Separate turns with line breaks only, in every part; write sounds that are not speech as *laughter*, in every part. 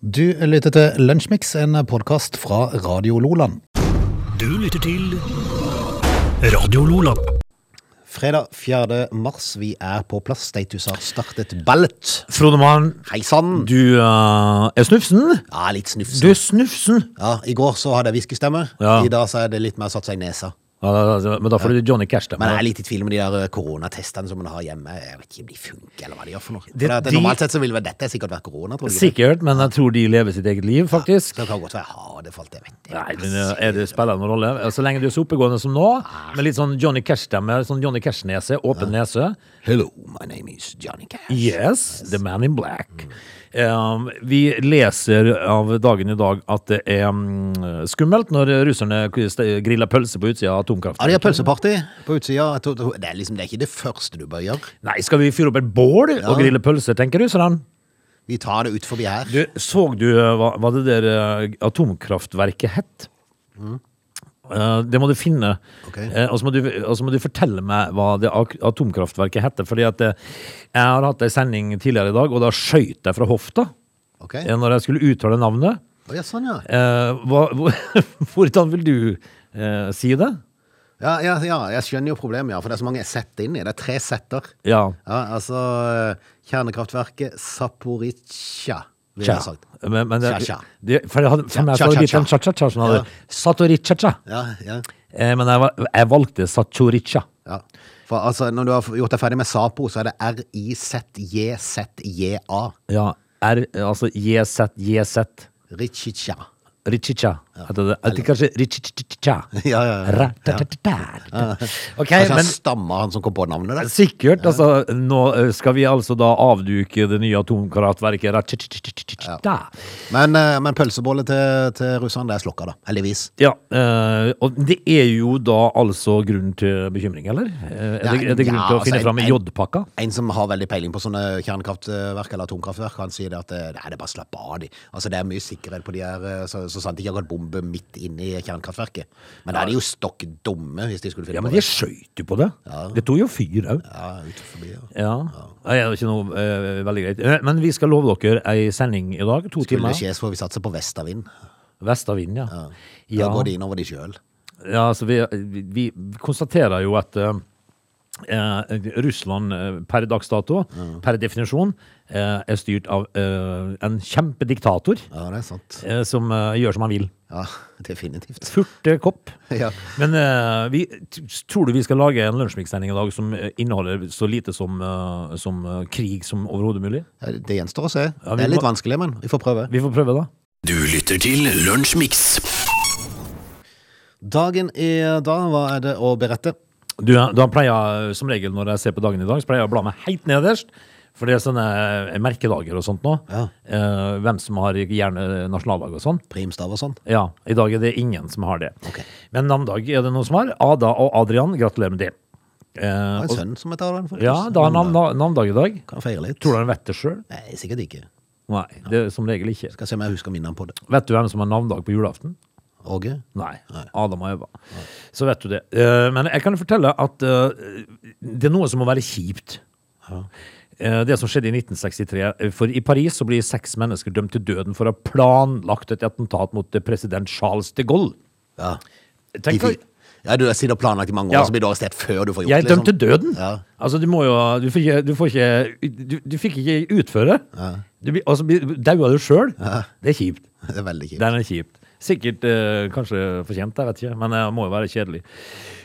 Du lytter til Lunsjmix, en podkast fra Radio Loland.
Du lytter til Radio Lola.
Fredag 4. mars, vi er på plass. Status har startet ballet.
Frode Maren,
Hei sann!
du eh, er snufsen.
Ja, litt snufs.
Du er snufsen.
Ja, I går så hadde jeg hviskestemme.
Ja.
I dag så er det litt mer satt seg i nesa.
Ja, da- da- men da får du Johnny Cash. Da.
Men jeg er litt i tvil om de der eh, koronatestene som man har hjemme. Jeg vet ikke om de funker, eller hva de gjør for noe.
Det-
For at
de-
Normalt sett så ville vel dette sikkert vært korona, tror du ikke?
Sikkert, men jeg tror de lever sitt eget liv,
Så
faktisk.
det kan godt være jeg har det for alt jeg vet.
Nei, men eh, er det spiller noen rolle? Eh, Så lenge du er så oppegående som nå, med litt sånn Johnny Cash-stemme, sånn Johnny Cash-nese, åpen nese.
Hello, my name is Johnny Cash.
Yes, The Man in Black. Um, vi leser av dagen i dag at det er mm, skummelt når russerne griller pølse på utsida av atomkraft.
Ja, de har pølseparty på utsida. Jeg tror- Det er liksom det er ikke det første du bør gjøre.
Nei, skal vi fyre opp et bål og grille pølser, tenker russerne?
Vi tar det ut forbi her.
Du, så du eh, hva, hva det der eh, atomkraftverket het? Eh, det må du finne.
Mm. Ok.
Eh, og, så må du, og så må du fortelle meg hva det ak- atomkraftverket heter. Fordi at eh, jeg har hatt ei sending tidligere i dag, og da skøyt jeg fra hofta
Ok.
eh, når jeg skulle uttale navnet.
Å, ja, sånn, ja.
Eh, hva, *laughs* hvordan vil du eh, si det?
Ja, ja, ja, jeg skjønner jo problemet, ja, for det er så mange sett inni. Det er tre setter.
Ja.
Ja, altså eh, Kjernekraftverket Zaporizjzja, ville
Tja.
jeg sagt.
Men, men det,
Tja, tja.
det, for jeg hadde, for
Tja,
meg
tja,
så var det
tja,
litt sånn
tja.
tja-tja-tja som hadde
Ja.
Satori-tja-tja.
Ja, ja,
Eh, men jeg, val- jeg valgte Satoritja.
ja. For altså, når du har gjort deg ferdig med Sapo, så er det R-I-Z-J-Z-J-A.
Ja, R, altså JZ, JZ.
Ritjitsja.
Richicha heter det. Eller kanskje Richicha.
*laughs* Ja, ja, ja.
Ok,
Kanskje han
men eh,
stammer, han som kom på navnet der.
sikkert. Altså, nå eh, skal vi altså da avduke det nye atomkaratverket Rachichichichichita.
Men, eh, men pølsebollet til, til russerne, det er slokka, da. Heldigvis.
Ja, eh, og det er jo da altså grunn til bekymring, eller? Eh, Er det, er det grunn
Ja,
til å
altså,
finne fram
en-
jodpakka?
En som har veldig peiling på sånne kjernekraftverk eller atomkraftverk, han sier det at eh, nei, det er bare slapp av de. Altså, det er mye sikkerhet på de her, eh, så, så sant de ikke har gått bombe midt inne i kjernekraftverket. Men da er de jo stokk dumme hvis de skulle finne
Ja,
på
men
det.
de skøyt jo på det. Det tok jo fyr òg.
Ja, ut forbi, ja.
Ja. Nei, Det er jo ikke noe eh, veldig greit. Eh, Men vi skal love dere ei sending i dag. To
Skulle
timer.
det skje, så får vi satse på Vestavind.
Vestavind, ja.
Ja. Da
Ja,
går de inn over de sjøl.
ja altså vi, vi, vi konstaterer jo at eh, eh, Russland eh, per dags dato, per definisjon, eh, er styrt av eh, en kjempediktator
Ja, det er sant.
eh, som eh, gjør som han vil.
Ja, definitivt. *laughs*
Furtekopp.
Ja.
Men eh, vi, t- tror du vi skal lage en lunsjmikssending i dag som eh, inneholder så lite som, eh, som eh, krig som overhodet mulig?
Ja, Det gjenstår å se.
Ja, vi
Det er litt
må-
vanskelig, men vi får prøve.
Vi får prøve, da.
Du lytter til Lunsjmix.
Dagen i dag, hva er det å berette?
Du, da pleier jeg som regel når jeg ser på dagen i dag, så pleier jeg å bla meg helt nederst. For det er sånne eh, merkedager og sånt nå.
Ja.
Eh, hvem som har gjerne nasjonaldag og sånn.
Primstav og sånn.
Ja, I dag er det ingen som har det.
Ok.
Men navnedag er det noen som har. Ada og Adrian, gratulerer med det. Eh,
Har en
og-
sønn som heter Adrian, faktisk.
ja, da har navn, navnedag i dag.
Kan feire litt.
Tror du han vet det sjøl?
Nei, sikkert ikke.
Nei, det er som regel ikke.
Skal se om jeg husker minnene på det.
Vet du hvem som har navnedag på julaften?
Åge?
Nei. Adam og Eva. Så vet du det. Eh, Men jeg kan jo fortelle at eh, det er noe som må være kjipt. Eh, Det som skjedde i 1963. eh, For i Paris så blir seks mennesker dømt til døden for å ha planlagt et attentat mot eh, president Charles de Gaulle.
Ja. De
Tenk,
fikk- ja, du sitter og planlagt i mange år,
Ja.
så blir du arrestert før du får gjort liksom.
jeg er dømt til døden!
Ja.
Altså, du må jo Du får ikke Du, får ikke, du, du fikk ikke utføre. Du, blir- altså, blir- daua du sjøl? Det er kjipt.
*laughs* Det er veldig kjipt.
Den er kjipt. Sikkert eh, kanskje fortjent, jeg vet ikke, men det må jo være kjedelig.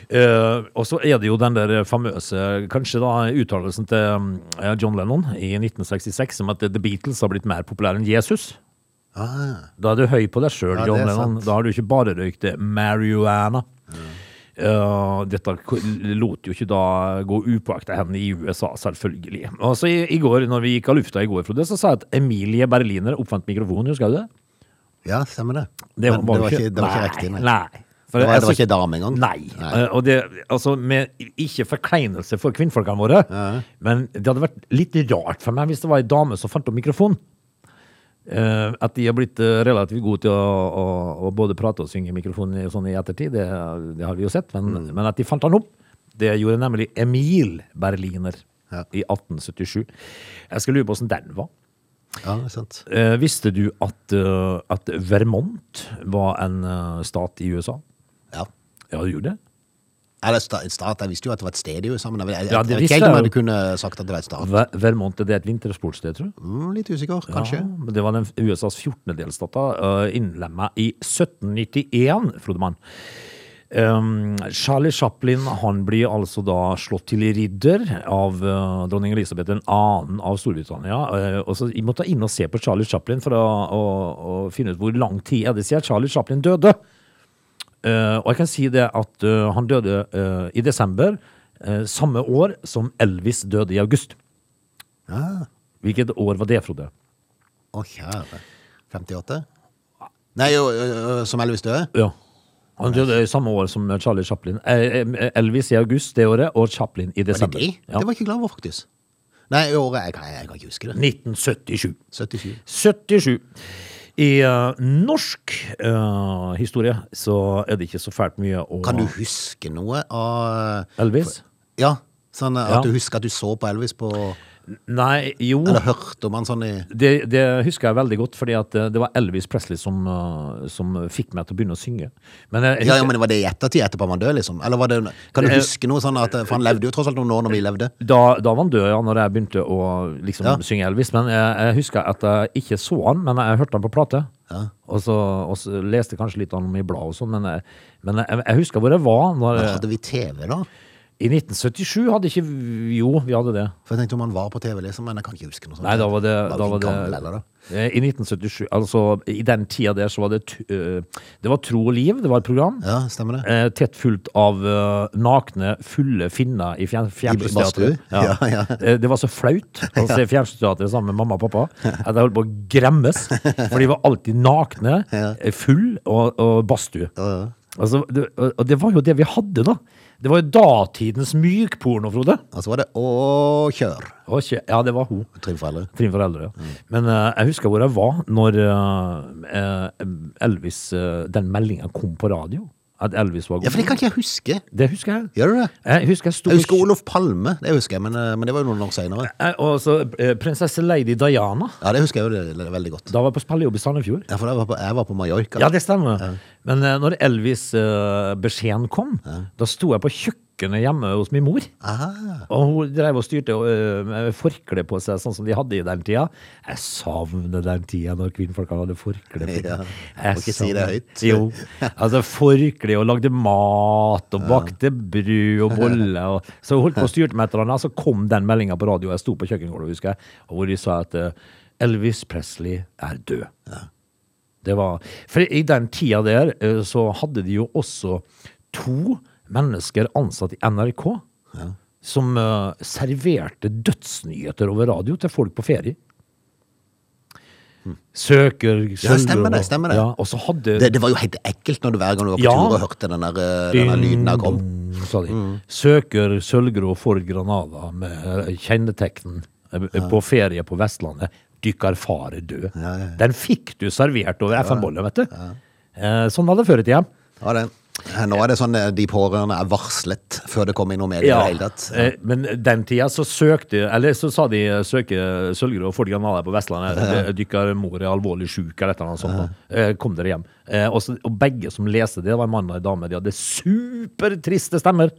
Eh, og så er det jo den der famøse, kanskje da uttalelsen til eh, John Lennon i 1966 om at The Beatles har blitt mer populære enn Jesus.
Ah,
Da er du høy på deg sjøl,
Ja, det
John
er
Lennon.
sant. Mm.
Da har du ikke bare røykt marihuana. Eh, dette ko- lot jo ikke da gå upåakta hen i USA, selvfølgelig. Og så i, i går, når vi gikk av lufta i går, Frode, så sa jeg at Emilie Berliner oppfant mikrofonen, husker du det?
ja, stemmer det.
Det
Men
var,
det var
jo
ikke, det var ikke
nei,
riktig. Nei.
Nei. For
Det var-
jeg
det var
syns-
ikke dame engang?
Nei.
Nei.
Eh, Og det, altså, med ikke forkleinelse for kvinnfolkene våre, men det hadde vært litt rart for meg hvis det var ei dame som fant opp mikrofonen. Eh, at de har blitt eh, relativt gode til å, å, å både prate og synge i mikrofonen i- sånn i ettertid, det, det har vi jo sett. Men,
Mm.
men at de fant han opp, det gjorde nemlig Emil Berliner
Ja.
i 1877. Jeg skal lure på åssen den var.
Ja, sant.
Eh, visste du at, eh, at Vermont var en eh, stat i USA?
Ja.
Ja, du gjorde det?
Eller sta- en stat, jeg visste jo at det var et sted i USA, men jeg, jeg, jeg,
Ja,
jeg,
det
vet
visste
ikke helt om
jeg
jeg
jo.
kunne sagt at det var et stat.
Ver Vermont er det et vintersportssted, tror du?
Mm, litt usikker, kanskje.
Ja, men det var den USAs 14. delstat uh, innlemma i 1791, Frodemann. Um, Charlie Chaplin han blir altså da slått til ridder av eh, dronning Elisabeth 2. av Storbritannia. Eh, og så, jeg måtte inn og se på Charlie Chaplin for å, å, å finne ut hvor lang tid er det siden Charlie Chaplin døde. Eh, og jeg kan si det at eh, han døde eh, i desember eh, samme år som Elvis døde i august. Hvilket år var det, Frode?
Å, kjære. 58? Nei, jo, ø, ø, som Elvis døde?
Ja. Han døde i samme år som Charlie Chaplin. Eh, eh, Elvis i august det året, og Chaplin i
Var det
desember.
de?
Ja.
Det var jeg ikke glad over, faktisk. Nei, året, jeg, kan- jeg kan ikke huske det.
1977.
77.
77. I eh, norsk eh, historie så er det ikke så fælt mye å
Kan du huske noe av...
Elvis?
Ja, sånn at
Ja. Oh.
du husker at du så på Elvis på...
Nei, jo.
Eller hørte om han sånn i...
Det, det husker jeg veldig godt, fordi at eh, det var Elvis Presley som, eh, som fikk meg til å begynne å synge. Men eh, jeg, Eh,
Ja, ja, men var det i ettertid etterpå man døde, liksom? Eller var det... Kan du
Det-
huske noe sånn at... For han levde jo tross alt noen år når vi levde.
Da, da var han død, ja, når jeg begynte å liksom,
Ja.
synge Elvis. Men jeg, jeg husker at jeg ikke så han, men jeg hørte han på plate. Og, så, og så leste kanskje litt om han i blad og sånn, men, jeg- men jeg, jeg husker hvor jeg var. Når,
Men hadde vi TV da?
I 1977 hadde ikke vi- Jo, vi hadde det.
For jeg tenkte om han var på TV, liksom, men jeg kan ikke huske noe sånt.
Nei, da var det,
Var
da
vi
var det
gammel, eller da?
Eh, I 1977, altså i den tida der, så var det t- eh, Det var Tro og liv, det var et program.
Ja, stemmer det.
eh, tett fullt av eh, nakne, fulle finner i fjern,
badstue?
fjernsynsteatret.
Ja, ja.
Eh, Det var så flaut å se fjernsynsteatret sammen med mamma og pappa at jeg holdt på å gremmes. For de var alltid nakne, eh, full og, og badstue.
Ja, ja.
Altså, det, og og det var jo det vi hadde, da. Det var jo datidens mykporno, Frode.
Og så var det å kjør.
Og ikke- Ja, det var hun.
Trym foreldre.
Trine for eldre, ja.
Mm.
Men eh, jeg husker hvor jeg var når eh, eh, Elvis eh, Den meldinga kom på radio. At Elvis var
Ja, for det
god.
kan ikke jeg huske.
Det husker jeg.
Gjør du det?
Jeg husker jeg sto
Jeg husker Olof Palme, det husker jeg, men, eh, men det var jo noen år senere.
Eh, Og så eh, prinsesse Lady Diana.
Ja, det husker jeg jo det, det, veldig godt.
Da var jeg på spillejobb i Sandefjord.
Ja, for jeg var på, jeg var på Mallorca.
Ja, det stemmer. Men eh, når Elvis-beskjeden kom, da sto jeg på kjøkkenet hjemme hos min mor.
Aha.
Og hun drev og styrte eh, med forkle på seg, sånn som de hadde i den tida. Jeg savner den tida når kvinnfolka hadde forkle. på
Ja,
seg.
må ikke si det
savner-
høyt.
Jo. Altså forkle og lagde mat og bakte brød og boller. Og, så hun holdt på og styrte med et eller annet, så kom den meldinga på radio, og jeg sto på kjøkkengulvet, husker jeg, og hvor de sa at eh, Elvis Presley er død. Det var, for i den tida der eh, så hadde de jo også to mennesker ansatt i NRK som eh, serverte dødsnyheter over radio til folk på ferie. Søker
Hm. Ja,
Sølvrå-
stemmer det, stemmer det.
Ja, og så hadde
Det, det var jo helt ekkelt når du hver gang du var på
Eh, Ja. Mm.
tur og hørte den der, eh, den der lyden der kom.
Ding, Sa de. Søker Sølvgrå for Granada med eh, kjennetegn eh, på ferie på Vestlandet. Dykker far er død. Den fikk du servert over FM-bolla, vet du. Eh, Sånn var det før i tida.
Ja, det. Nå er det sånn eh, de pårørende er varslet før det kommer inn noe medier i det hele tatt.
eh, Men den tida så søkte Eller så sa de eh, søke Sølvgrå for Granada på Vestlandet. Eh, Dykker mor er alvorlig sjuk, eller et eller annet sånt. Eh, Kom dere hjem. Eh, Og, så, og begge som leste det, det var en mann og en dame. De hadde supertriste stemmer.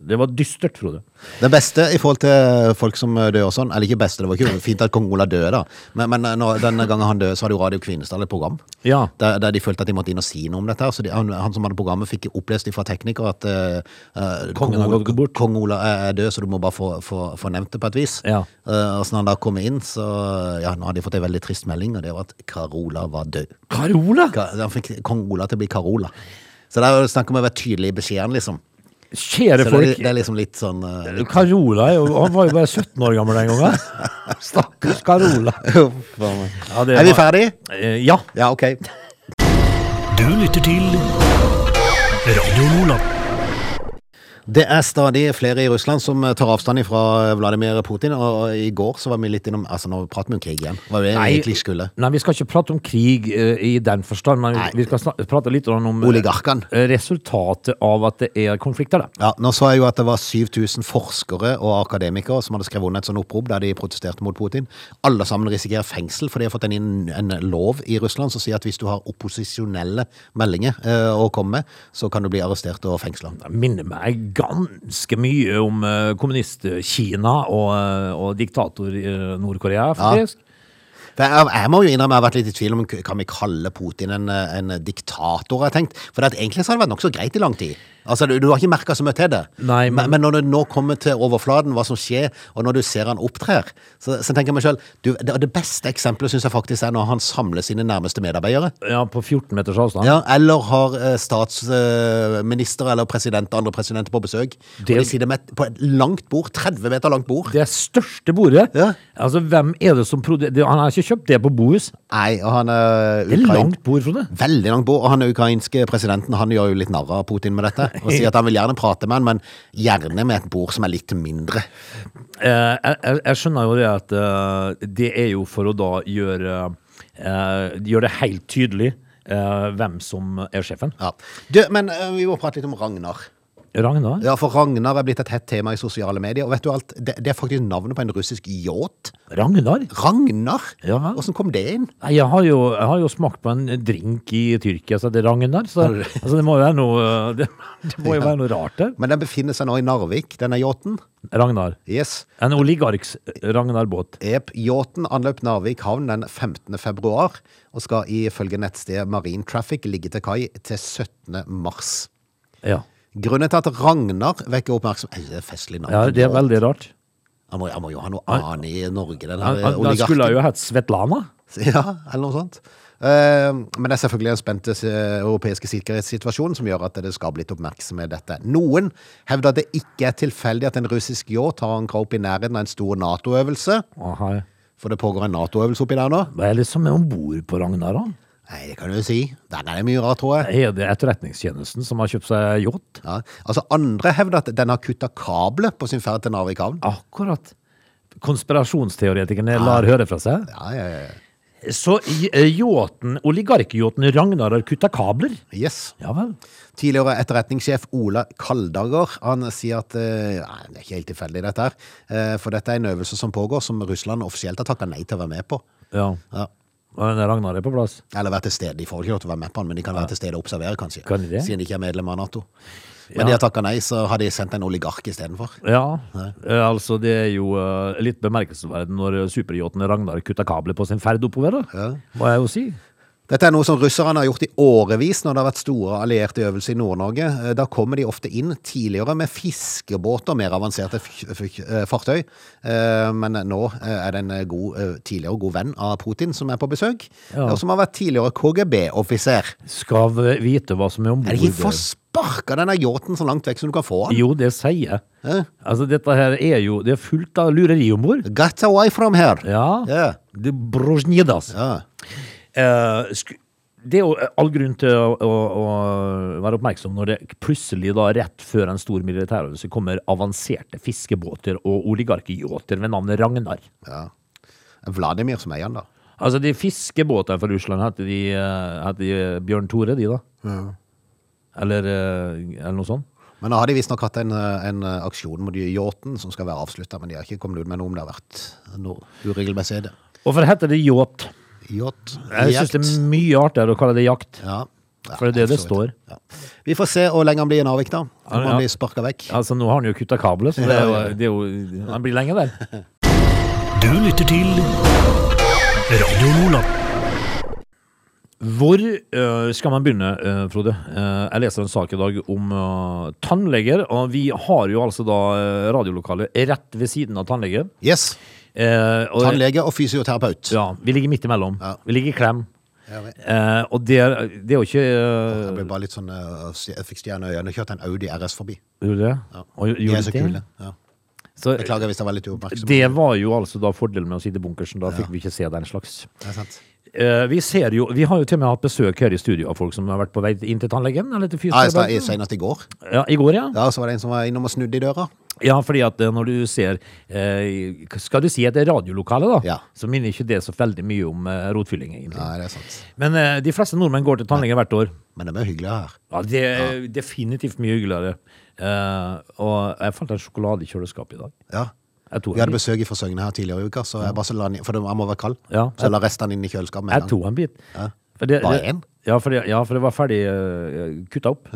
Det var dystert, Frode.
Det beste i forhold til folk som dør og sånn, eller ikke beste, det var ikke fint at kong Ola døde da, men, men når, denne gangen han døde så hadde jo Radio Kvinesdal et program,
Ja.
der, der de følte at de måtte inn og si noe om dette her, så de, han, han som hadde programmet fikk opplest fra tekniker at eh, eh,
Kongen har
Ola-
gått bort.
kong Ola eh, er- er død, så du må bare få, få, få nevnt det på et vis.
Ja.
Eh, og så når han da kom inn, så ja, nå hadde de fått en veldig trist melding, og det var at Karola var død.
Carola?
Ka, han fikk kong Ola til å bli Karola. Så det er jo snakk om å være tydelig i beskjeden, liksom. Så
Kjære
det,
folk.
det er liksom litt sånn... eh, litt-
Carola er jo, han var jo bare 17 år gammel
*laughs*
den gangen. Stakkars Carola. Ja, det
er vi
var-
ferdige?
Eh, Ja.
Ja, ok.
Du lytter til Radio Nordland.
Det er stadig flere i Russland som eh, tar avstand fra Vladimir Putin. Og og i går så var vi litt innom Altså, nå prater vi om krig igjen. Hva er det vi egentlig skulle?
nei, vi skal ikke prate om krig eh, i den forstand, men vi,
Nei.
vi skal snak- prate litt om eh,
Oligarkene.
eh, resultatet av at det er konflikter. Da.
Ja, nå så jeg jo at det var 7000 forskere og akademikere som hadde skrevet under et sånt opprop der de protesterte mot Putin. Alle sammen risikerer fengsel, for de har fått en, inn- en lov i Russland som sier at hvis du har opposisjonelle meldinger eh, å komme med, så kan du bli arrestert og fengsla.
Det minner meg ganske mye om eh, kommunist-Kina og, eh, og diktator eh, Nord-Korea, faktisk.
For Jeg, jeg må jo innrømme jeg har vært litt i tvil om kan vi kalle Putin en, eh, en diktator, har jeg tenkt. For at egentlig så har det vært nokså greit i lang tid. Altså, Du, du har ikke merka så mye til det.
Nei, men-
men, men når det nå kommer til overflaten, hva som skjer, og når du ser han opptrer, så, så tenker jeg meg sjøl det, det beste eksempelet syns jeg faktisk er når han samler sine nærmeste medarbeidere.
Ja, på 14 meters avstand.
Ja, eller har eh, statsminister eh, eller president andre presidenter på besøk.
Det-
Og de sitter med, et- på et langt bord, 30 meter langt bord.
Det største bordet.
Ja.
Altså, hvem er det som produ- det, Han har ikke kjøpt det på Bohus.
Nei, og han er
Det er
ukrain-
langt bord, Frode.
Veldig langt bord. Og han ukrainske presidenten han gjør jo litt narr av Putin med dette. Og sier at han vil gjerne prate med han, men gjerne med et bord som er litt mindre.
Eh, jeg, jeg- jeg skjønner jo det at eh, det er jo for å da gjøre eh, Gjøre det helt tydelig eh, hvem som er sjefen.
Ja. Du, men eh, vi må prate litt om Ragnar.
Ragnar?
Ja, For Ragnar er blitt et hett tema i sosiale medier. Og vet du alt, det, det er faktisk navnet på en russisk yacht.
Ragnar?
Ragnar?
Ja.
Åssen kom det inn?
Nei, Jeg har, jo, jeg har jo smakt på en drink i Tyrkia som heter Ragnar, så
Har du det?
altså, det må jo være noe det, det må jo være noe rart der.
Men den befinner seg nå i Narvik, denne yachten.
Ragnar.
Yes.
En oligarks eh, Ragnar Båt.
Ep, yachten anløp Narvik havn den 15. februar, og skal ifølge nettstedet Marine Traffic ligge til kai til 17. mars.
Ja.
Grunnen til at Ragnar vekker oppmerksomhet Det er festlig navn.
ja, det er veldig rart.
Han, må, han må jo ha noe annet i Norge, den
Han,
her
han, han
oligarken.
skulle jo hett Svetlana.
*laughs* Ja, eller noe sånt. Eh, Men det er selvfølgelig den spente eh, europeiske sikkerhetssituasjonen som gjør at det skal bli litt oppmerksomhet dette. Noen hevder at det ikke er tilfeldig at en russisk yacht har ankra opp i nærheten av en stor Nato-øvelse.
Å, hei.
For det pågår en Nato-øvelse oppi der nå.
Hva er det som er om bord på Ragnar? da?
Nei, det kan du jo si. Den er det mye rart, tror jeg.
Er det Etterretningstjenesten som har kjøpt seg yacht?
Ja. Altså, andre hevder at den har kutta kablet på sin ferd til Narvik havn.
Akkurat. Konspirasjonsteoretikerne lar høre fra seg.
Ja, ja, ja.
Så i- eh, yachten, oligarkyachten Ragnar har kutta kabler?
Yes.
Ja vel.
Tidligere etterretningssjef Ola Kaldager han sier at eh, nei, det er ikke helt tilfeldig dette her, eh, for dette er en øvelse som pågår som Russland offisielt har takka nei til å være med på.
Ja.
Ja.
Men Ragnar er på plass.
Eller være til stede. De får vel ikke lov til å være med på den, men de kan være til stede og observere, kanskje.
Kan de det?
Siden de ikke er medlem av Nato. Men
Ja.
de har takka nei, så har de sendt en oligark istedenfor.
Ja, eh, altså det er jo eh, litt bemerkelsesverdig når superyachten Ragnar kutta kabler på sin ferd oppover, da. Må jeg jo si.
Dette er noe som russerne har gjort i årevis når det har vært store allierte øvelser i Nord-Norge. Eh, Da kommer de ofte inn tidligere med fiskebåter, mer avanserte f- f- eh, fartøy. Eh, Men nå eh, er det en eh, god, eh, tidligere god venn av Putin som er på besøk,
Ja.
og som har vært tidligere KGB-offiser.
Skal vi vite hva som er om
Er
bord.
det ikke for sparka denne yachten så langt vekk som du kan få den?
Jo, det sier jeg.
Hæ?
Altså, dette her er jo Det er fullt av lureri om bord.
Get away from here!
Ja.
Ja.
Det brosjnidas.
Ja.
Eh, sku- det er jo eh, all grunn til å, å, å være oppmerksom når det plutselig, da, rett før en stor militærøvelse, kommer avanserte fiskebåter og oligarkyachter ved navnet Ragnar.
ja. Vladimir som eier den, da.
Altså, de fiskebåtene fra Russland heter de, eh, heter de eh, Bjørn Tore, de da? Eller, eh, eller noe sånt?
Men nå har de visstnok hatt en, eh, en eh, aksjon mot yachten som skal være avslutta, men de har ikke kommet ut med noe om det har vært noe uregelmessig i det.
Hvorfor heter det yacht?
Yacht.
Jeg syns det er mye artigere å kalle det jakt.
ja. Ja,
For det er det det
for så vidt.
står.
Ja. Vi får se hvor lenge han blir i Narvik, da. Om
Ja, ja.
han blir sparka vekk.
Altså, nå har han jo kutta kabler, så det er jo, det er jo Han blir lenge der.
Du lytter til Radio Nordland.
Hvor øh, skal man begynne, øh, Frode? Eh, jeg leser en sak i dag om øh, tannleger. Og vi har jo altså da uh, radiolokalet rett ved siden av tannlegen.
Yes.
Eh, og-
Tannlege og fysioterapeut.
Ja, vi ligger midt imellom.
Ja.
Vi ligger i klem.
Ja, vi-
Eh, og det er, det er jo ikke øh,
Jeg ble bare litt sånn eh, stj- Jeg fikk stjerne i øynene. Kjørte en Audi RS forbi.
Gjorde det?
Ja.
Og gj-
De
gjorde
er så
det?
kule. Ja.
Så,
Beklager hvis jeg var litt uoppmerksom.
det var jo altså da fordelen med å sitte i bunkersen. Da fikk vi ikke se den slags.
Det er sant.
eh, vi ser jo Vi har jo til og med hatt besøk her i studio av folk som har vært på vei inn til tannlegen. Eller til
Ja, jeg sa- jeg-
fysioterapeuten.
Senest i går
Ja, I går, ja.
Ja, så var det en som var innom og snudde i døra.
Ja, fordi at eh, når du ser eh, Skal du si at det er radiolokale, da?
Ja.
Så minner ikke det så veldig mye om eh, rotfylling, egentlig.
Nei, det er sant.
Men eh, de fleste nordmenn går til tannlegen hvert år.
Men de er hyggelige her.
Ja, det er definitivt mye hyggeligere. Eh, og jeg fant en sjokolade i kjøleskapet i dag.
Ja.
Jeg tok
Vi hadde
en bit.
besøk fra Søgne her tidligere i uka, så jeg bare så la den, for den må være kald.
Ja.
Så jeg la resten inn i kjøleskapet med
Jeg
en gang.
tok en bit.
Ja.
For det-
Bare
det-
en?
Ja, for det, ja, for det var ferdig uh, kutta opp.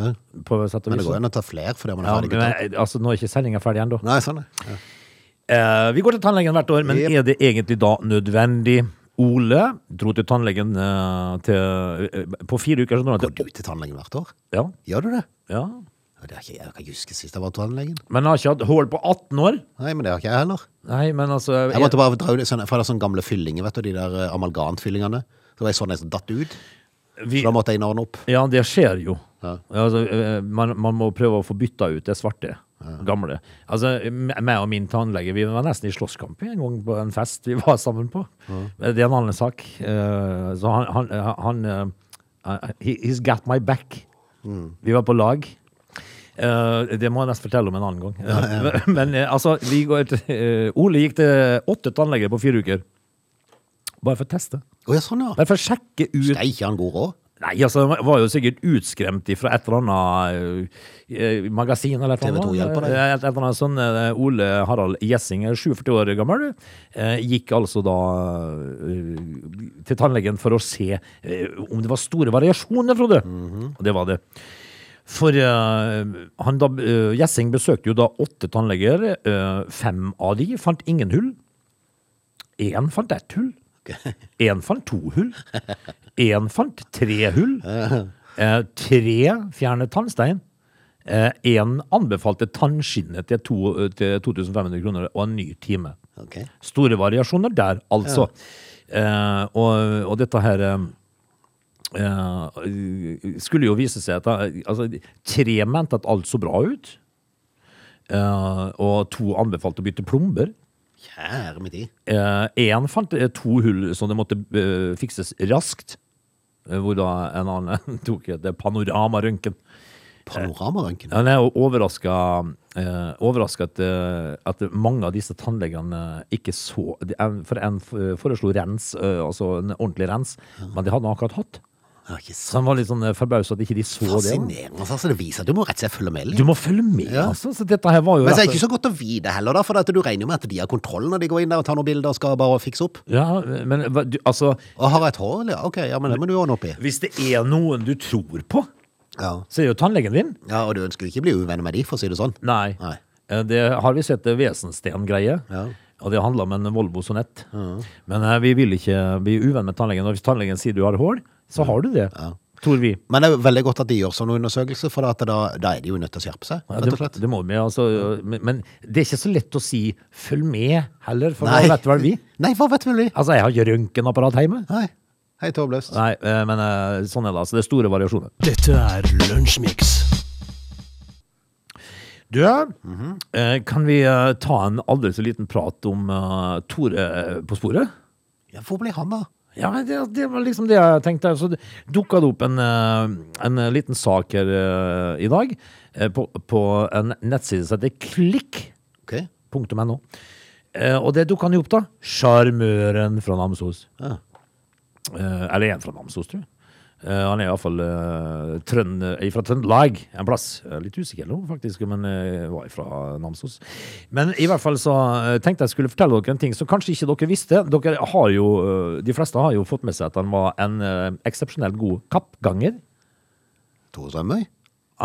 På sett og
Men det
vis.
går jo an å ta flere fordi man er
Ja,
ferdig
men
gutta.
jeg- altså, nå er ikke sendinga ferdig ennå.
Nei, sånn det. Ja.
Eh, vi går til tannlegen hvert år, men
Jep.
er det egentlig da nødvendig? Ole dro til tannlegen eh, til, eh, på fire uker. så dro han
Går
til,
du til tannlegen hvert år?
ja,
Gjør du det?
ja.
Ja, Det er ikke, jeg kan ikke huske sist jeg var til tannlegen.
Men han har ikke hatt hull på 18 år.
Nei, men det har ikke jeg heller.
Nei, men altså
Jeg måtte bare dra ut sånne, for det er sånne gamle fyllinger, vet du, de der eh, amalgamfyllingene. Så var jeg sånn en som datt ut.
vi,
Så da måtte jeg inn og ordne opp.
Ja, det skjer jo.
Ja.
Altså, eh, man, man må prøve å få bytta ut det svarte. Gamle. Altså, m- meg og min tannlege Vi var nesten i slåsskamp en gang på en fest vi var sammen på. Men Det er en annen sak. Eh, Så han, han, han eh, eh, he- He's got my back. Vi var på lag. Eh, det må jeg nesten fortelle om en annen gang. *laughs* Men eh, altså, vi går til, eh, Ole gikk til åtte tannleger på fire uker. Bare for å teste.
Å ja, sånn ja.
Bare for å sjekke ut
Det er ikke han god råd.
Nei, altså, han var jo sikkert utskremt fra et eller annet eh, magasin eller et eller annet.
TV2 hjelper deg.
Eh, Et eller annet sånn, eh, Ole Harald Gjessing, er 47 år gammel, eh, gikk altså da eh, til tannlegen for å se eh, om det var store variasjoner, Frode.
Mhm.
Og det var det. For eh, han da, eh, Gjessing besøkte jo da åtte tannleger. eh, fem av de fant ingen hull. Én fant ett hull. Én fant to hull. Én fant tre hull. Eh, tre fjernet tannstein. Én anbefalte tannskinnet til, to, til 2500 kroner og en ny time.
Ok.
Store variasjoner der, altså. Eh, og, og dette her eh, eh, skulle jo vise seg at eh, altså, tre mente at alt så bra ut. Eh, og to anbefalte å bytte plomber.
Kjære min tid.
Én fant eh, to hull som det måtte eh, fikses raskt. eh, Hvor da en annen *laughs* tok et panoramarøntgen.
Panoramarønken.
Han er overraska eh, overraska at, eh, at mange av disse tannlegene ikke så de- en- For en f- foreslo rens, eh, altså en ordentlig rens, men det hadde han akkurat hatt.
Ja, ikke
Så
sant.
han var litt sånn forbausa at ikke de så det.
Fascinerende. Altså, det viser at du må rett og slett følge med litt.
Du må følge med,
Ja.
altså! Så dette her var jo
Men så er
rett-
det ikke så godt å vite heller, da, for at du regner jo med at de har kontroll når de går inn der og tar noen bilder og skal bare fikse opp.
ja, men hva- du, altså
Og har jeg et hår, eller? Ok, ja, men det må du ordne opp i.
Hvis det er noen du tror på,
Ja.
så er det jo tannlegen din.
ja, og du ønsker jo ikke bli uvenn med de, for å si det sånn.
Nei.
Nei.
Eh, Det har vi sett eh, Wesensten-greie.
Ja.
Og det handler om en Volvo Sonett. Men eh, vi vil ikke bli uvenn med tannlegen. Og hvis tannlegen sier du har hull, så har du det. Tror vi.
Men det er jo veldig godt at de gjør sånne undersøkelser, for at da, da er de jo nødt til å skjerpe seg,
Ja,
rett og
det,
slett.
det må vi. Altså, men, men det er ikke så lett å si 'følg med' heller, for
Nei.
da vet vel vi.
Nei, hva vet vel vi?
Altså, jeg har ikke røntgenapparat hjemme.
Nei. Hei, Tåbløst.
Nei, eh, men eh, sånn er det. altså. Det er store variasjoner.
Dette er Lunsjmix.
Du,
Mhm.
eh, kan vi eh, ta en aldri så liten prat om eh, Tore eh, på sporet?
Ja, hvor ble han, da?
Ja, det, det var liksom det jeg tenkte. Så dukka det opp en, eh, en liten sak her eh, i dag eh, på, på en nettside som heter klikk.no.
Ok.
Eh, Og det dukka han jo opp, da. Sjarmøren fra Namsos.
Ja.
Eh, Eller en fra Namsos, tror jeg. Eh, Han er iallfall trønd, eh, fra Trøndelag en plass. Jeg er Litt usikker nå, faktisk, men eh, var fra Namsos. Men i hvert fall så eh, tenkte jeg skulle fortelle dere en ting som kanskje ikke dere visste. Dere har jo, eh, de fleste har jo fått med seg at han var en eh, eksepsjonelt god kappganger.
Tore Strømøy?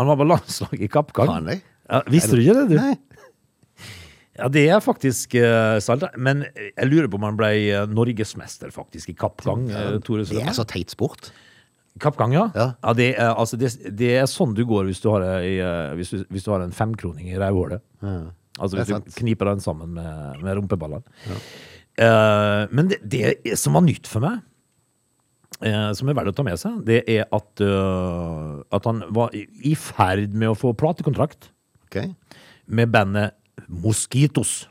Han var på landslaget i kappgang.
Faen, nei.
Ja, visste du ikke det, du?
Nei.
Ja, det er faktisk eh, sant. Men jeg lurer på om han ble eh, norgesmester, faktisk, i kappgang. eh, Tore
Det
Strømme.
er så teit sport.
Kappgang, ja. ja.
Ja.
det, er, altså, det, det er sånn du går hvis du har, ei, eh, hvis du, hvis du har en femkroning i rævhålet. Altså
det
hvis
er
du
sant.
kniper den sammen med, med rumpeballene. Eh, men det, det er- som var nytt for meg, eh, som er verdt å ta med seg, det er at, eh, at han var i i ferd med å få platekontrakt
Ok. *laughs*
med bandet Moskitos.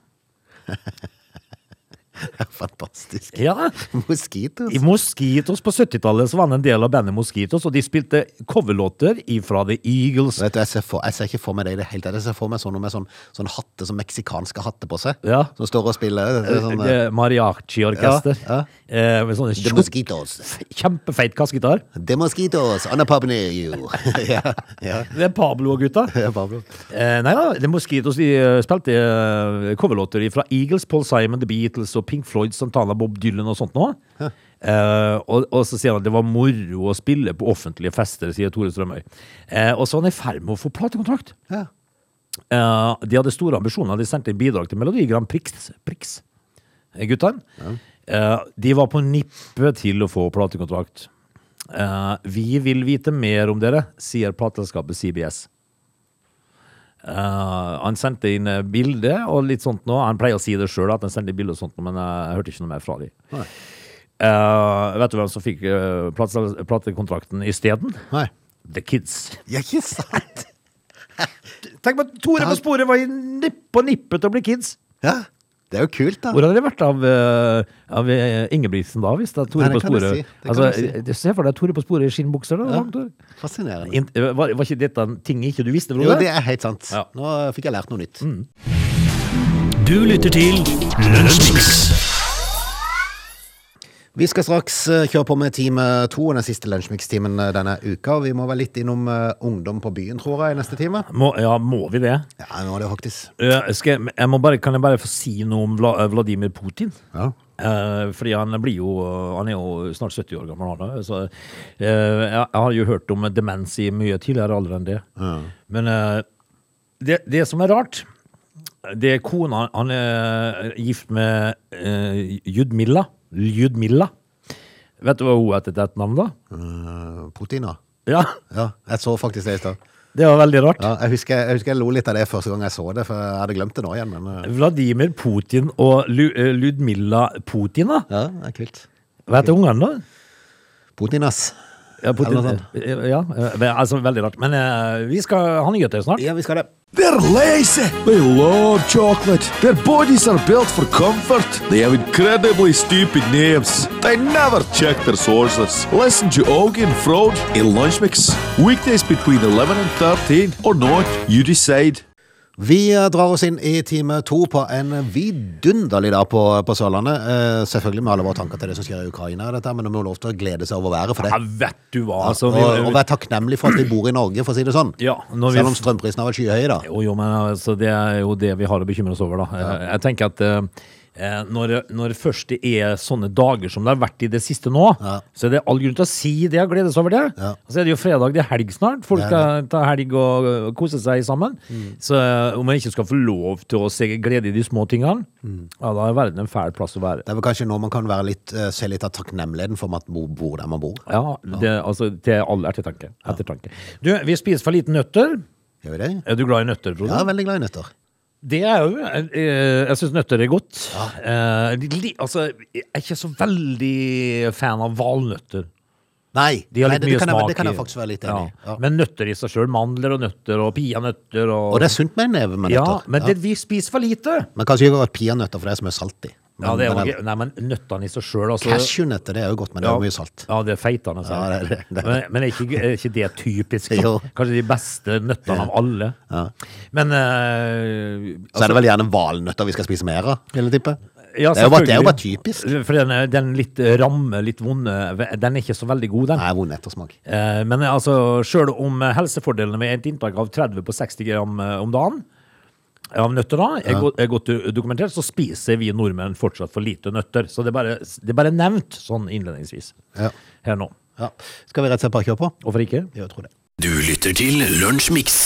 Det er fantastisk. altså.
Ja da.
Mosquitos.
I Mosquitos på 70-tallet så var han en del av bandet Mosquitos, og de spilte coverlåter ifra The Eagles.
Vet du, jeg ser, for, jeg ser ikke for meg det i det hele tatt. Jeg ser for meg sånne med sånn, sånn hatte, sånn meksikanske hatte på seg.
Ja.
Som står og spiller. Det er sånn, eh,
Eh, Mariachi-orkester.
Ja,
Eh, med sånne
The
tjukk,
mosquitos.
kjempefeit kassegitar.
The mosquitos. On a pub near *laughs* you. ja, ja.
Det er Pablo og gutta.
*laughs* Ja, Pablo.
Eh, nei da, The Mosquitos de eh, spilte eh, coverlåter fra Eagles, Paul Simon, The Beatles og Pink Floyd, Santana, Bob Dylan og sånt nå. Eh, og, og så sier han at det var moro å spille på offentlige fester, sier Tore Strømøy. Eh, og så er han i ferd med å få platekontrakt.
Ja.
Eh, de hadde store ambisjoner. De sendte inn bidrag til Melodi Grand Prix, Prix eh, guttene. Eh, de var på nippet til å få platekontrakt. Eh, vi vil vite mer om dere, sier plateselskapet CBS. Eh, han sendte inn eh, bilde og litt sånt nå. Han pleier å si det sjøl, at han sendte inn bilde og sånt, nå, men eh, jeg hørte ikke noe mer fra dem.
Nei.
vet du hvem som fikk eh, platesel- platekontrakten isteden?
Nei.
The Kids.
Ja, ikke sant?
Tenk på at Tore
Han-
på sporet var i nipp på nippet til å bli kids.
Ja. Det er jo kult, da.
Hvor hadde det vært av, eh, av eh, Ingebrigtsen da, hvis det er
Nei,
Tore
det
på
kan jeg
sporet?
si. Det kan
altså,
jeg
eh, Se for deg Tore på sporet i skinnbukser. Da, langt hår.
Fascinerende.
In, eh, var, var ikke dette en ting ikke du visste?
Jo,
Frode?
det er helt sant.
Ja.
Nå fikk jeg lært noe nytt.
Du lytter til Lunsjmix.
Vi skal straks eh, kjøre på med time to, den siste lunsjmikstimen eh, denne uka. og Vi må være litt innom eh, ungdom på byen, tror jeg, i neste time.
Må, ja, må vi det?
Ja, nå er det faktisk.
Eh, skal jeg, jeg må bare, kan jeg bare få si noe om Vla, eh, Vladimir Putin?
Ja.
Eh, fordi han blir jo Han er jo snart 70 år gammel, han da, Så, eh, jeg, jeg har jo hørt om demens i mye tidligere alder enn det. Men eh, det, det som er rart, det er kona Han er gift med eh, Ljudmilla. Ljudmilla. Vet du hva hun heter til et navn, da?
Eh, Proteiner.
Ja,
Ja, jeg så faktisk det i stad.
Det var veldig rart.
Ja, jeg, husker- jeg husker jeg lo litt av det første gang jeg så det, for jeg hadde glemt det nå igjen. Men eh,
Vladimir Putin og Lu, eh, Ljudmilla Putina.
ja, det er kult.
Hva heter ungene, da?
Proteinass.
Ja, Putin,
Eller noe
ja, eh, altså veldig rart. Men eh, vi skal ha nyheter snart.
Ja, vi skal det.
They're lazy. They love chocolate. Their bodies are built for comfort. They have incredibly stupid names. They never check their sources. Listen to Augie and Frode in Lunch Mix. Weekdays between 11 and 13 or not, you decide.
Vi eh, drar oss inn i time to på en vidunderlig dag på, på Sørlandet. Eh, selvfølgelig med alle våre tanker til det som skjer i Ukraina, og dette, men det må lov til å glede seg over været for det.
Ja, vet du hva, altså vi,
og, og være takknemlig for at vi bor i Norge, for å si det sånn.
Ja, når vi-
Selv om strømprisene har vært skyhøye, da.
Jo, jo, men altså, det er jo det vi har å bekymre oss over, da. Eh, Jeg tenker at eh, når, når først det er sånne dager som det har vært i det siste nå,
Ja.
så er det all grunn til å si det og glede seg over det.
Ja.
Så er det jo fredag, det er helg snart. Folk
Det er
skal ta helg og ø, kose seg sammen.
Mm.
Så ø, om man ikke skal få lov til å se glede i de små tingene,
Mm.
ja, da er verden en fæl plass å være.
Det er vel kanskje nå man kan være litt, eh, se litt av takknemligheten for at man bor der man bor.
Ja, det, altså til all ettertanke. ettertanke. Du, vi spiser for lite nøtter.
Gjør vi det?
Er du glad i nøtter, Frode?
Ja, veldig glad i nøtter.
Det er jo eh, Jeg syns nøtter er godt. Eh, de li- altså, jeg er ikke så veldig fan av valnøtter.
Nei,
De har
nei
litt
det,
mye
det, kan
smak.
jeg, det kan
i-
jeg faktisk være litt enig i. Ja.
Men nøtter i seg sjøl. Mandler og nøtter og peanøtter og,
Og det er sunt med en neve med
Ja,
nøtter.
men
Ja.
det, vi spiser for lite.
Men kanskje ikke akkurat peanøtter, for det er så mye salt i. Men,
Ja, det er jo
men
ikke- Nei, men nøttene i seg sjøl, altså.
Cashewnøtter, det er jo godt, men det er jo mye salt.
Ja, det er feitende. Altså.
Ja, det er det. Det er det.
Men, men er, ikke, er ikke det typisk?
*laughs* Jo.
Kanskje de beste nøttene av alle. Men eh,
Så er det vel gjerne valnøtter vi skal spise mer av, vil jeg tippe.
Ja,
det, er jo bare, det er jo
selvfølgelig.
bare typisk.
For den, er- den litt ramme, litt vonde, den er ikke så veldig god, den.
Nei, vond ettersmak.
Eh, Men altså, sjøl om helsefordelene med et inntak av 30 på 60 gram eh, om dagen eh, av nøtter da, er, godt, er godt eh, dokumentert, så spiser vi nordmenn fortsatt for lite nøtter. Så det er bare, det er bare nevnt sånn innledningsvis
Ja.
her nå.
Ja. Skal vi rett og slett bare kjøre på?
Hvorfor ikke?
Jo, Jeg tror det.
Du lytter til Lunsjmix.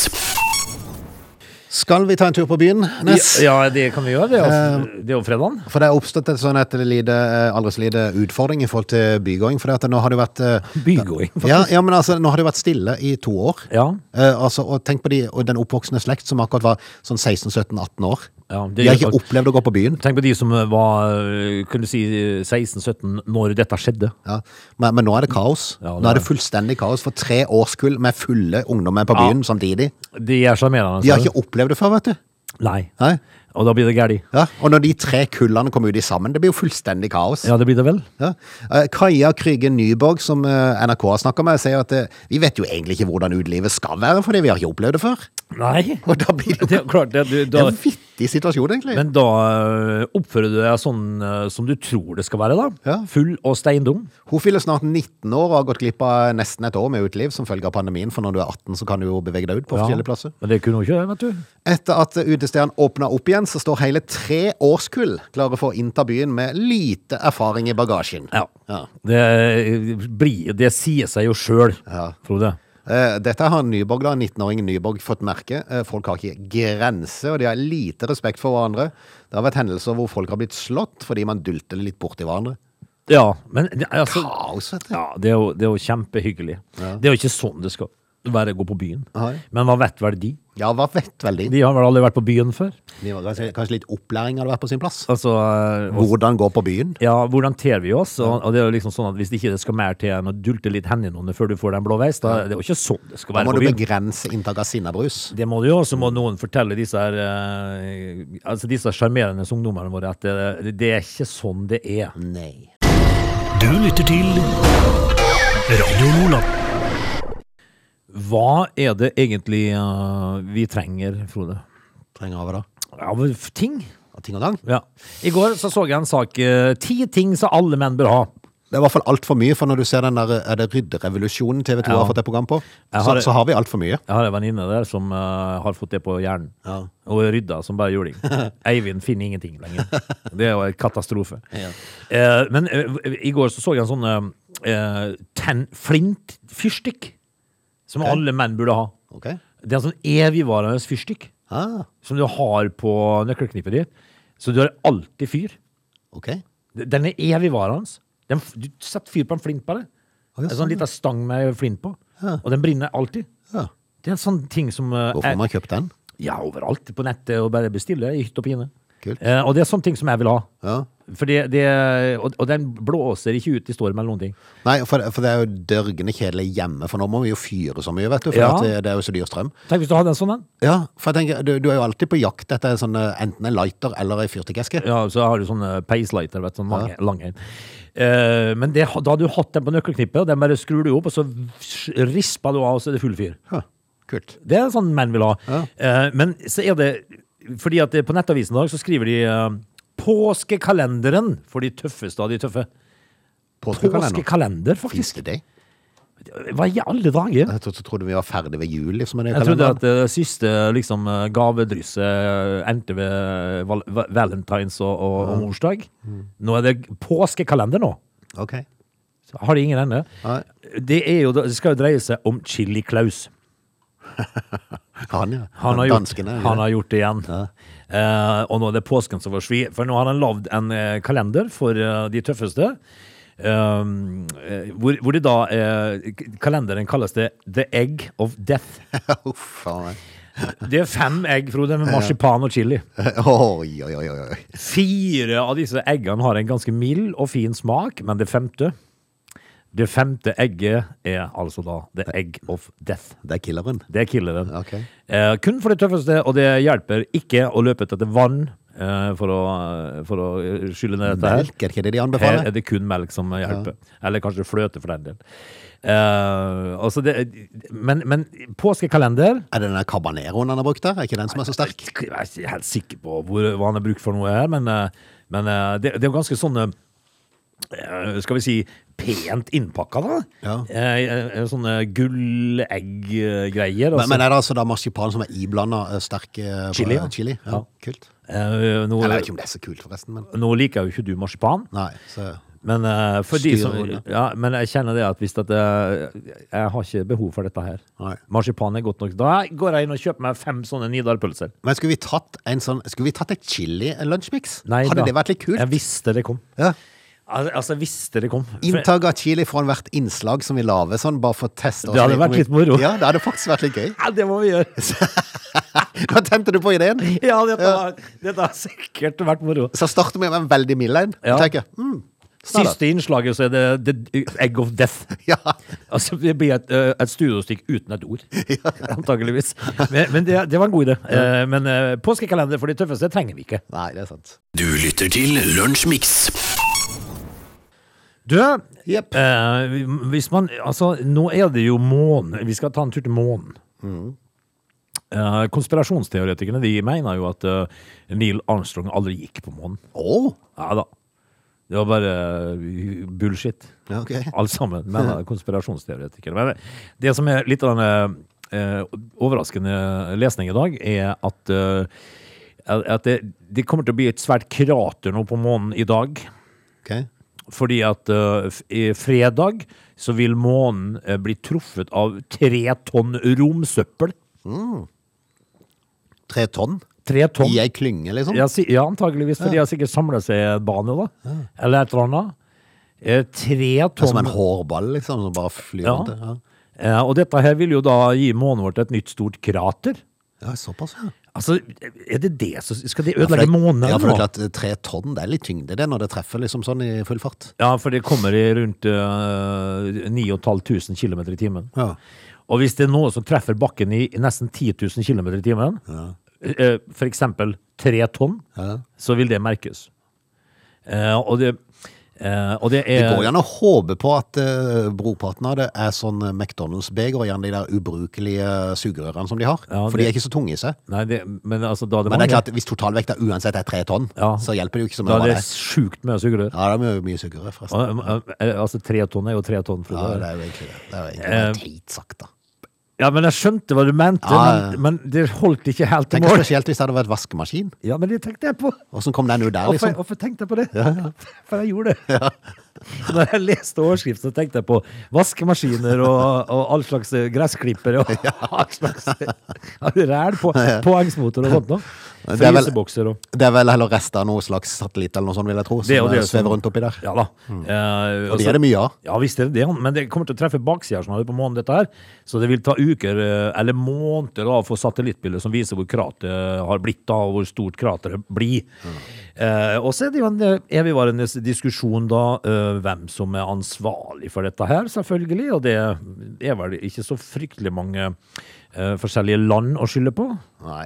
Skal vi ta en tur på byen, Ness?
Ja, ja, det kan vi gjøre. Det er
Eh,
jo- det er jo fredagen.
For det er oppstått et sånn et lite, eh, aldri så lite utfordring i forhold til bygåing. For det at nå har det jo vært eh,
Bygåing.
ja, ja, men altså, nå har det jo vært stille i to år.
Ja.
Eh, altså, og tenk på de, og den oppvoksende slekt som akkurat var sånn 16-17-18 år.
Ja, det
de har
gjør
ikke
folk.
opplevd å gå på byen.
Tenk på de som var eh, kunne si 16-17 når dette skjedde.
Ja. Men, men nå er det kaos.
Ja, det
nå
er
er det fullstendig kaos for tre årskull med fulle ungdommer på
Ja.
byen samtidig.
De er sjarmerende.
De har
altså.
ikke opplevd det før, vet du.
Nei.
Nei?
Og da blir det gæli.
Ja, og når de tre kullene kommer ut i sammen, det blir jo fullstendig kaos.
Ja, det blir det vel.
Ja. Eh, Kaja Kryge Nyborg, som eh, NRK har snakka med, sier at eh, vi vet jo egentlig ikke hvordan utelivet skal være, fordi vi har ikke opplevd det før.
Nei.
Og da blir det
Det
jo
er jo klart, det,
*laughs*
du,
det
da,
er en vittig situasjon, egentlig.
men da øh, oppfører du deg sånn øh, som du tror det skal være, da.
Ja.
Full og steindum.
Hun fyller snart 19 år og har gått glipp av nesten et år med uteliv som følge av pandemien, for når du er 18 så kan du jo bevege deg ut på forskjellige plasser.
Men det kunne hun ikke, vet du.
Etter at utestedene åpna opp igjen, så står hele tre årskull klare for å innta byen med lite erfaring i bagasjen.
Ja.
Ja.
Det, blir- det sier seg jo sjøl,
Ja.
Frode.
Eh, Dette har Nyborg, da, 19-åringen Nyborg, fått merke. Eh, Folk har ikke grenser, og de har lite respekt for hverandre. Det har vært hendelser hvor folk har blitt slått fordi man dulter litt borti hverandre.
Ja, men det- altså,
Kaos, vet du.
ja, det, er jo, det er jo kjempehyggelig. Det er jo ikke sånn det skal være å gå på byen.
Nei.
Men hva vet vel de?
Ja, hva vet vel de?
De har vel aldri vært på byen før?
De var Kanskje kanskje litt opplæring hadde vært på sin plass?
Altså, eh, og-
Hvordan gå på byen?
ja, hvordan ter vi oss? Og, og det er jo liksom sånn at Hvis ikke det skal mer til enn å dulte litt hendene under før du får den blå veis, da det er jo ikke sånn det skal
Da
være
må du
på byen.
begrense inntaket av sinnabrus.
Det må du jo, så må noen fortelle disse her eh, Altså disse sjarmerende ungdommene våre at det, det er ikke sånn det er.
Nei.
Du lytter til Radio Nordland.
Hva er det egentlig eh, vi trenger, Frode?
Trenger av det.
Ja, men f- ting.
Og ting og tang.
Ja. I går så, så jeg en sak. eh, Ti ting som alle menn bør ha.
Det er i hvert fall altfor mye, for når du ser den der er det rydderevolusjonen TV 2
Ja.
har fått et program på,
Jeg
så
har
har,
det-
så har vi altfor mye.
Jeg har en venninne der som eh, har fått det på hjernen.
Ja.
Og rydda som bare
*laughs*
juling. Eivind finner ingenting lenger. Det er jo en katastrofe.
Ja.
Eh, men eh, i går så, så jeg en sånn eh, eh, ten, flint fyrstikk. Som alle menn burde ha.
Ok?
Det er en sånn evigvarende fyrstikk
Ah,
som du har på nøkkelknippet ditt. Så du har alltid fyr.
ok.
Den er evigvarende. Den, f- du setter fyr på en flint bare.
ja,
en sånn liten stang med flint på. Og den brenner alltid.
Ja.
Det er en sånn ting som eh,
Hvorfor
jeg-
har man kjøpt den?
Ja, overalt på nettet og bare bestille i hytt og pine.
Kult.
Eh, og det er sånne ting som jeg vil ha.
Ja.
For det, det, og, og den blåser ikke ut i storm eller noen ting.
Nei, for, for det er jo dørgende kjedelig hjemme, for nå må vi jo fyre så mye, vet du, for
Ja.
at det, det er jo så dyr strøm.
Tenk hvis du hadde en sånn en.
Ja, for jeg tenker, du, du er jo alltid på jakt etter sånn, eh, enten en lighter eller en fyrtikkeske.
Ja, så har du sånn eh, peislighter, vet du, sånn mange, lang en. Eh, men det, da har du hatt den på nøkkelknippet, og den bare skrur du opp, og så risper du av, og så er det full fyr.
Huh, Kult.
Det er sånn menn vil ha.
Ja.
Eh, men så er det Fordi at det- på nettavisen i dag så skriver de eh, 'Påskekalenderen' for de tøffeste av de tøffe.
Påskekalender.
Påskekalender,
Finnes
faktisk.
det det?
Hva i alle dager?
Jeg tro- trodde vi var ferdig ved jul, liksom. med det
Jeg trodde
kalenderen.
at det siste liksom, eh, gavedrysset eh, endte ved val va- valentines og, og, og morsdag. Nå er det påskekalender nå.
Ok.
Så Har det ingen ende?
Nei.
Det, er jo, det skal jo dreie seg om Chili Klaus.
Han, ja.
Han har, gjort,
Danskene,
han
ja.
har gjort det igjen. Eh, og nå er det påsken som får svi. For nå har han lagd en eh, kalender for eh, de tøffeste. Um, eh, hvor, hvor det da eh, k- Kalenderen kalles det The Egg of Death.
*laughs* Uff, faen meg.
Det er fem egg, Frode, med marsipan og chili.
Oi, oi, oi, oi. oi.
Fire av disse eggene har en ganske mild og fin smak, men det femte Det femte egget er altså da The Egg of Death.
Det er killeren.
Det er killeren.
Ok.
Eh, kun for det tøffeste, og det hjelper ikke å løpe etter vann eh, for, å, for å skylle ned dette her.
Melk, er det ikke det de
Her er
anbefaler?
det kun melk som hjelper. Eller kanskje fløte, for den del. Eh, altså det, men, men påskekalender
Er det den der habaneroen han har brukt der? Er ikke den som er så sterk?
Jeg er ikke helt sikker på hvor, hva han har brukt for noe her, men, eh, men eh, det, det er jo ganske sånn eh, Skal vi si pent innpakka, da.
Ja.
Eh, eh, sånne gullegg-greier.
Men, men er det altså da marsipan som er iblanda sterk eh,
Chili, ja.
chili? Ja,
Ja.
Kult.
Eh, nå,
Jeg vet ikke om det er så kult, forresten, men
nå liker jo ikke du marsipan,
Nei. Så
men, eh, for de som,
Styrer ordet.
ja, men jeg kjenner det at hvis at jeg, jeg har ikke behov for dette her.
Nei.
Marsipan er godt nok. Da går jeg inn og kjøper meg fem sånne Nidar-pølser.
Men skulle vi tatt en sånn Skulle vi tatt et chili-lunsjmix?
Nei
Hadde
da.
det vært litt kult?
Jeg visste det kom.
Ja.
Al altså, jeg visste det kom. For-
Inntak av chili foran hvert innslag som vi lager, sånn bare for å teste oss
Det hadde
om
vært
vi-
litt moro.
Ja, det hadde faktisk vært litt gøy. *laughs*
Ja, det må vi gjøre.
Da tente du på ideen.
*laughs* Ja, dette, Har, dette har sikkert vært moro.
Så starter vi med en veldig mild en.
Ja.
og tenker, mm,
Siste innslaget så er det The Egg of Death.
*laughs* Ja.
Altså, det blir et, eh, et studiostykk uten et ord, antageligvis. Men, men det, det var en god idé. Eh, Men eh, påskekalender for de tøffeste trenger vi ikke.
Nei, det er sant.
Du lytter til Lunsjmix.
Du,
Jepp.
eh, hvis man Altså, nå er det jo månen. Vi skal ta en tur til månen. Eh, konspirasjonsteoretikerne de mener jo at eh, Neil Armstrong aldri gikk på månen.
Å!
Ja da. Det var bare eh, bullshit.
Ja, ok.
Alt sammen. Mener konspirasjonsteoretikere. Men eh, det som er litt av den eh, overraskende lesning i dag, er at, eh, at det, det kommer til å bli et svært krater nå på månen i dag.
ok.
Fordi at eh, f- i fredag så vil månen eh, bli truffet av tre tonn romsøppel.
Tre tonn?
Tre tonn?
I ei klynge, liksom?
Ja, si, ja antageligvis, for de har sikkert samla seg i en bane, da. Eller et eller annet. Eh, Tre
Det er Som en
tonn.
hårball, liksom, som bare flyr
Ja.
rundt der. Ja.
Eh, Og dette her vil jo da gi månen vårt et nytt stort krater.
ja, såpass, ja.
Altså, er det det som Skal de
Ja, for
ødelegge
det-
månen?
Ja,
eller
for det er
noe?
klart, eh, tre tonn, det er litt tyngde det, når det treffer liksom sånn i full fart.
Ja, for det kommer i rundt uh, 9500 km i timen.
Ja.
Og hvis det er noe som treffer bakken i nesten 10 000 km i timen, eh, for eksempel tre tonn,
Ja.
så vil det merkes. Eh, og, det, eh, og det
Det
er
går gjerne å håpe på at uh, brorparten av det er sånn eh, McDonald's-beger og gjerne de der ubrukelige eh, sugerørene som de har.
Ja,
For
det-
de er ikke så tunge i seg.
Nei, det, men altså, da er det
Men det er
mange.
klart, hvis totalvekta uansett er tre tonn,
Ja.
så hjelper det jo ikke så mye.
Da
hva
er
det
det
er.
sjukt mye sugerør.
Ja, det er mye, mye sugerør, forresten.
Og, eh, eh, Altså, tre tonn er jo tre tonn.
Ja,
Frode.
det er jo egentlig det. Det er jo
Eh,
egentlig bare teit sagt, da.
ja, men jeg skjønte hva du
Ja,
mente,
ja, ja.
Men, men det holdt ikke helt til
Tenk
mål.
spesielt hvis det hadde vært vaskemaskin.
Ja, men det tenkte jeg på.
Åssen kom den ut der,
Hvorfor,
liksom?
hvorfor tenkte jeg på det? *laughs* For jeg gjorde det. *laughs* Når jeg leste overskriften, så tenkte jeg på vaskemaskiner og, og all slags eh, gressklippere og *laughs* all slags ja, ræl på påhengsmotor og sånt noe.
Men det er vel-
Frysebokser og
Det er vel heller rester av noe slags satellitt eller noe sånt, vil jeg tro, som
Det er jo det
eh, svever
som-
rundt oppi der.
Ja da. Eh,
Mm. Og det er det mye av.
Ja visst er det det, men det kommer til å treffe baksida av snarere på månen, dette her. Så det vil ta uker, eh, eller måneder, da, å få satellittbilder som viser hvor krateret har blitt, da, og hvor stort krateret blir. Eh, og så er det jo en eh, evigvarende diskusjon, da, eh, hvem som er ansvarlig for dette her, selvfølgelig. Og det er vel ikke så fryktelig mange eh, forskjellige land å skylde på,
Nei.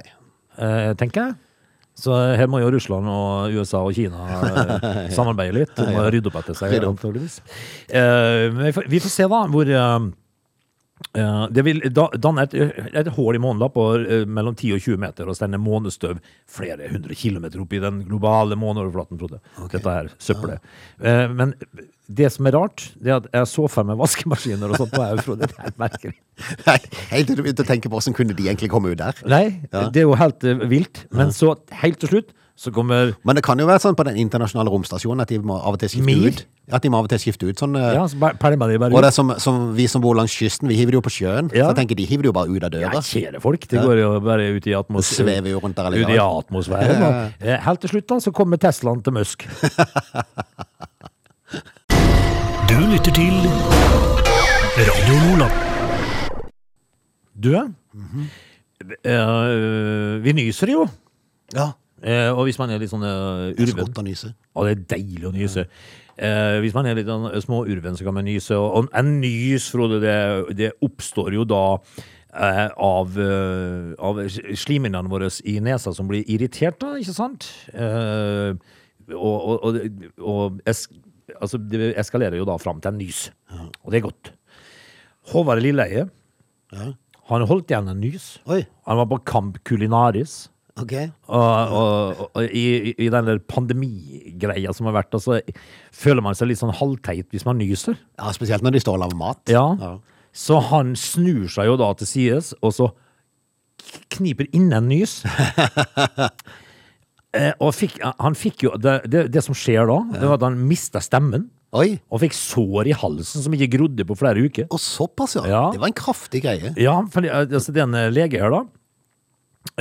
eh, tenker jeg. Så her må jo Russland og USA og Kina
*laughs*
eh, samarbeide litt. De må rydde opp etter seg.
Rydde opp.
antageligvis. Eh, men vi får- vi får se, da, hvor eh, eh, Det vil da- danne et, et hull i månen da på eh, mellom 10 og 20 meter og sende månestøv flere hundre kilometer opp i den globale måneoverflaten, Frode. Dette her søppelet. Eh, men det som er rart, det er at jeg så for meg vaskemaskiner og sånt på her, Frode. Det er merkelig.
*laughs* Nei, Helt til du begynte å tenke på åssen kunne de egentlig komme ut der.
Nei, det er jo helt eh, vilt. Men så, helt til slutt, så kommer
Men det kan jo være sånn på den internasjonale romstasjonen at de må av og til skifte
Mir?
ut. At de må av og til skifte ut sånn eh,
Ja, så bare pælma de bare
Og det
ut.
er som, som vi som bor langs kysten, vi hiver det jo på sjøen.
Ja.
Så jeg tenker de hiver det jo bare ut av
Ja,
døra.
kjære folk. Det går jo bare ut i atmosfæren.
Svever jo rundt der
Ut i
allikevel.
atmosfæren. og, eh, Helt til slutt da, så kommer Teslaen til Musk.
Du lytter til Radio Nordland.
Du,
Mhm.
eh, vi nyser jo.
Ja.
Eh, og hvis man er litt sånn eh,
Det er så
urven
godt å nyse.
Å, det er deilig å nyse. Eh, hvis man er litt sånn småurven, så kan man nyse. Og, og en nys, Frode, det, det oppstår jo da eh, av, eh, av slimhinnene våre i nesa som blir irritert, da, ikke sant? Eh, og og, og, og es, altså, det eskalerer jo da fram til en nys. Og det er godt. Håvard Lilleheie, han holdt igjen en nys.
Oi.
Han var på Camp Culinaris.
Ok.
Og, og, og i, i den der pandemigreia som har vært, altså, føler man seg litt sånn halvteit hvis man nyser.
Ja, Spesielt når de står og lager mat.
Så han snur seg jo da til sides, og så kniper inn en nys. Eh, og fikk, han fikk jo det, det, det som skjer da, det var at han mista stemmen.
Oi.
Og fikk sår i halsen som ikke grodde på flere uker.
Og såpass, ja.
Ja.
Det var en kraftig greie.
Ja, for det- altså, det er en eh, lege her da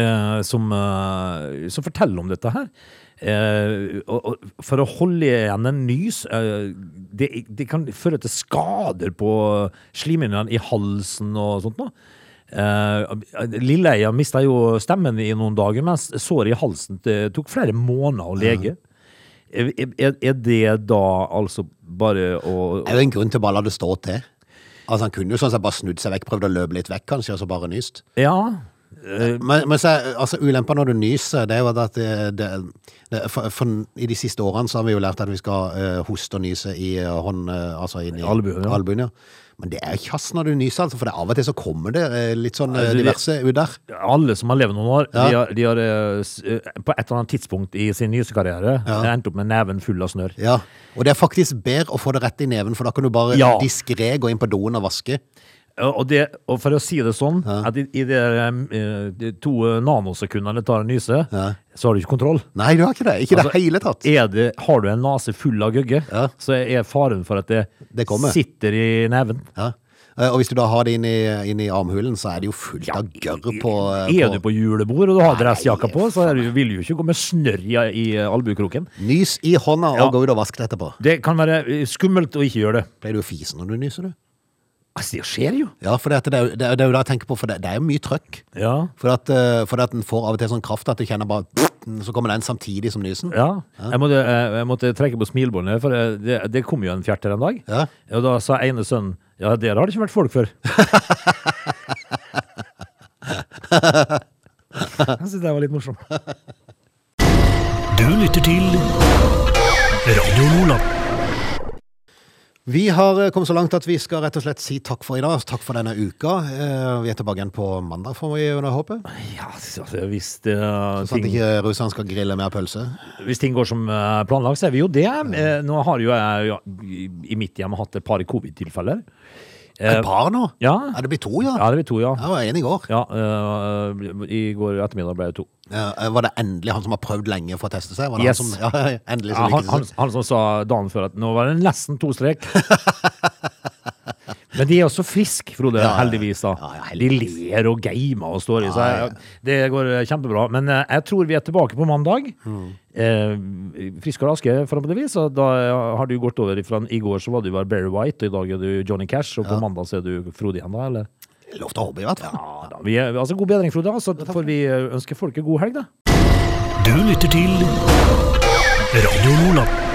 eh, som, eh, som forteller om dette her. Eh, og, og for å holde igjen en nys eh, det, det kan føre til skader på slimhinnene i halsen og sånt noe. Eh, Lilleheia mista jo stemmen i noen dager, mens såret i halsen eh, tok flere måneder å lege. Er, er, er det da altså bare å
Det er jo en grunn til å bare la det stå til. Altså Han kunne jo sånn sett bare snudd seg vekk, prøvd å løpe litt vekk, kanskje, og så bare nyst.
Ja.
Men, men så, er- altså, ulempa når du nyser, det er jo at det, det, det for, for, I de siste årene så har vi jo lært at vi skal eh, hoste og nyse i eh, hånd, eh, altså inn i
Albuen, ja.
albuen, ja. Men det er kjass når du nyser, altså, for det, er av og til så kommer det eh, litt sånn eh,
Altså, det-
diverse ut der.
Alle som har levd noen år,
Ja.
de har, de har eh, s- eh, på et eller annet tidspunkt i sin nysekarriere endt opp med neven full av snørr.
Ja. Og det er faktisk bedre å få det rett i neven, for da kan du bare
Ja.
diskré gå inn på doen og vaske.
Ja, Og, det, og for å si det sånn, at i, i de, eh, de to eh, nanosekundene det tar å nyse, så har du ikke kontroll.
Nei, du har ikke det. Ikke i det
Altså,
hele tatt.
Er det, har du en nese full av gøgge,
Ja.
så er faren for at det,
Det kommer.
sitter i neven.
Ja. Eh, Og hvis du da har det inn i, inn i armhulen, så er det jo fullt av gørr på eh,
er du på julebord og du har dressjakka på, så er du, vil du jo ikke gå med snørr i, i albuekroken.
Nys i hånda og
Ja.
gå ut og vask det etterpå.
Det kan være eh, skummelt å ikke gjøre det.
Pleier du å fise når du nyser, du?
Altså, det skjer jo.
Ja, for det, at det, er, jo- det, er, det er jo det jeg tenker på, for det, det er jo mye trøkk.
Ja.
For at, eh, for at en får av og til sånn kraft at du kjenner bare Så kommer den samtidig som nysen.
Ja. Jeg, måtte, eh, jeg måtte trekke på smilebåndet, for eh, det, det kom jo en fjert her en dag.
Ja.
Og da sa ene sønnen Ja, der har det ikke vært
*laughs*
folk før. Jeg syns det var litt morsomt.
Du lytter til Radio Nordland.
Vi har eh, kommet så langt at vi skal rett og slett si takk for i dag. Takk for denne uka. Eh, Vi er tilbake igjen på mandag, får vi jo håpe.
Ja, altså, hvis, eh,
Sånn at
ting,
ikke russerne skal grille mer pølse.
hvis ting går som eh, planlagt, så er vi jo det. Eh, Nå har jo jeg ja, i- i mitt hjem hatt et par covid-tilfeller.
Et par nå?
Eh, ja.
det blir to, ja?
Ja, det blir to, ja.
Jeg var enig i går.
ja eh, I går ettermiddag ble det to.
Eh, Var det endelig han som har prøvd lenge for å teste seg? Var det
Yes.
han som, *laughs* ja, endelig
Ja,
som
han,
lykkes
han, han som sa dagen før at nå var det nesten to strek. Men de er også friske, Frode,
Ja, ja, ja.
heldigvis. da.
Ja, ja,
de
heldigvis.
ler og gamer og står i. Så
Ja, ja.
jeg, det går eh, kjempebra. Men eh, jeg tror vi er tilbake på mandag.
Mm.
Eh, frisk og raske, forhåpentligvis. Og da eh, har du gått over ifra I går så var du bare Barry White, og i dag er du Johnny Cash, og på mandag så er du Frode igjen, da? eller?
Lov til å håpe, i hvert fall.
Ja, da. Vi er, altså, god bedring, Frode. og Så får vi eh, ønske folket god helg, da.
Du lytter til Radio Nordland.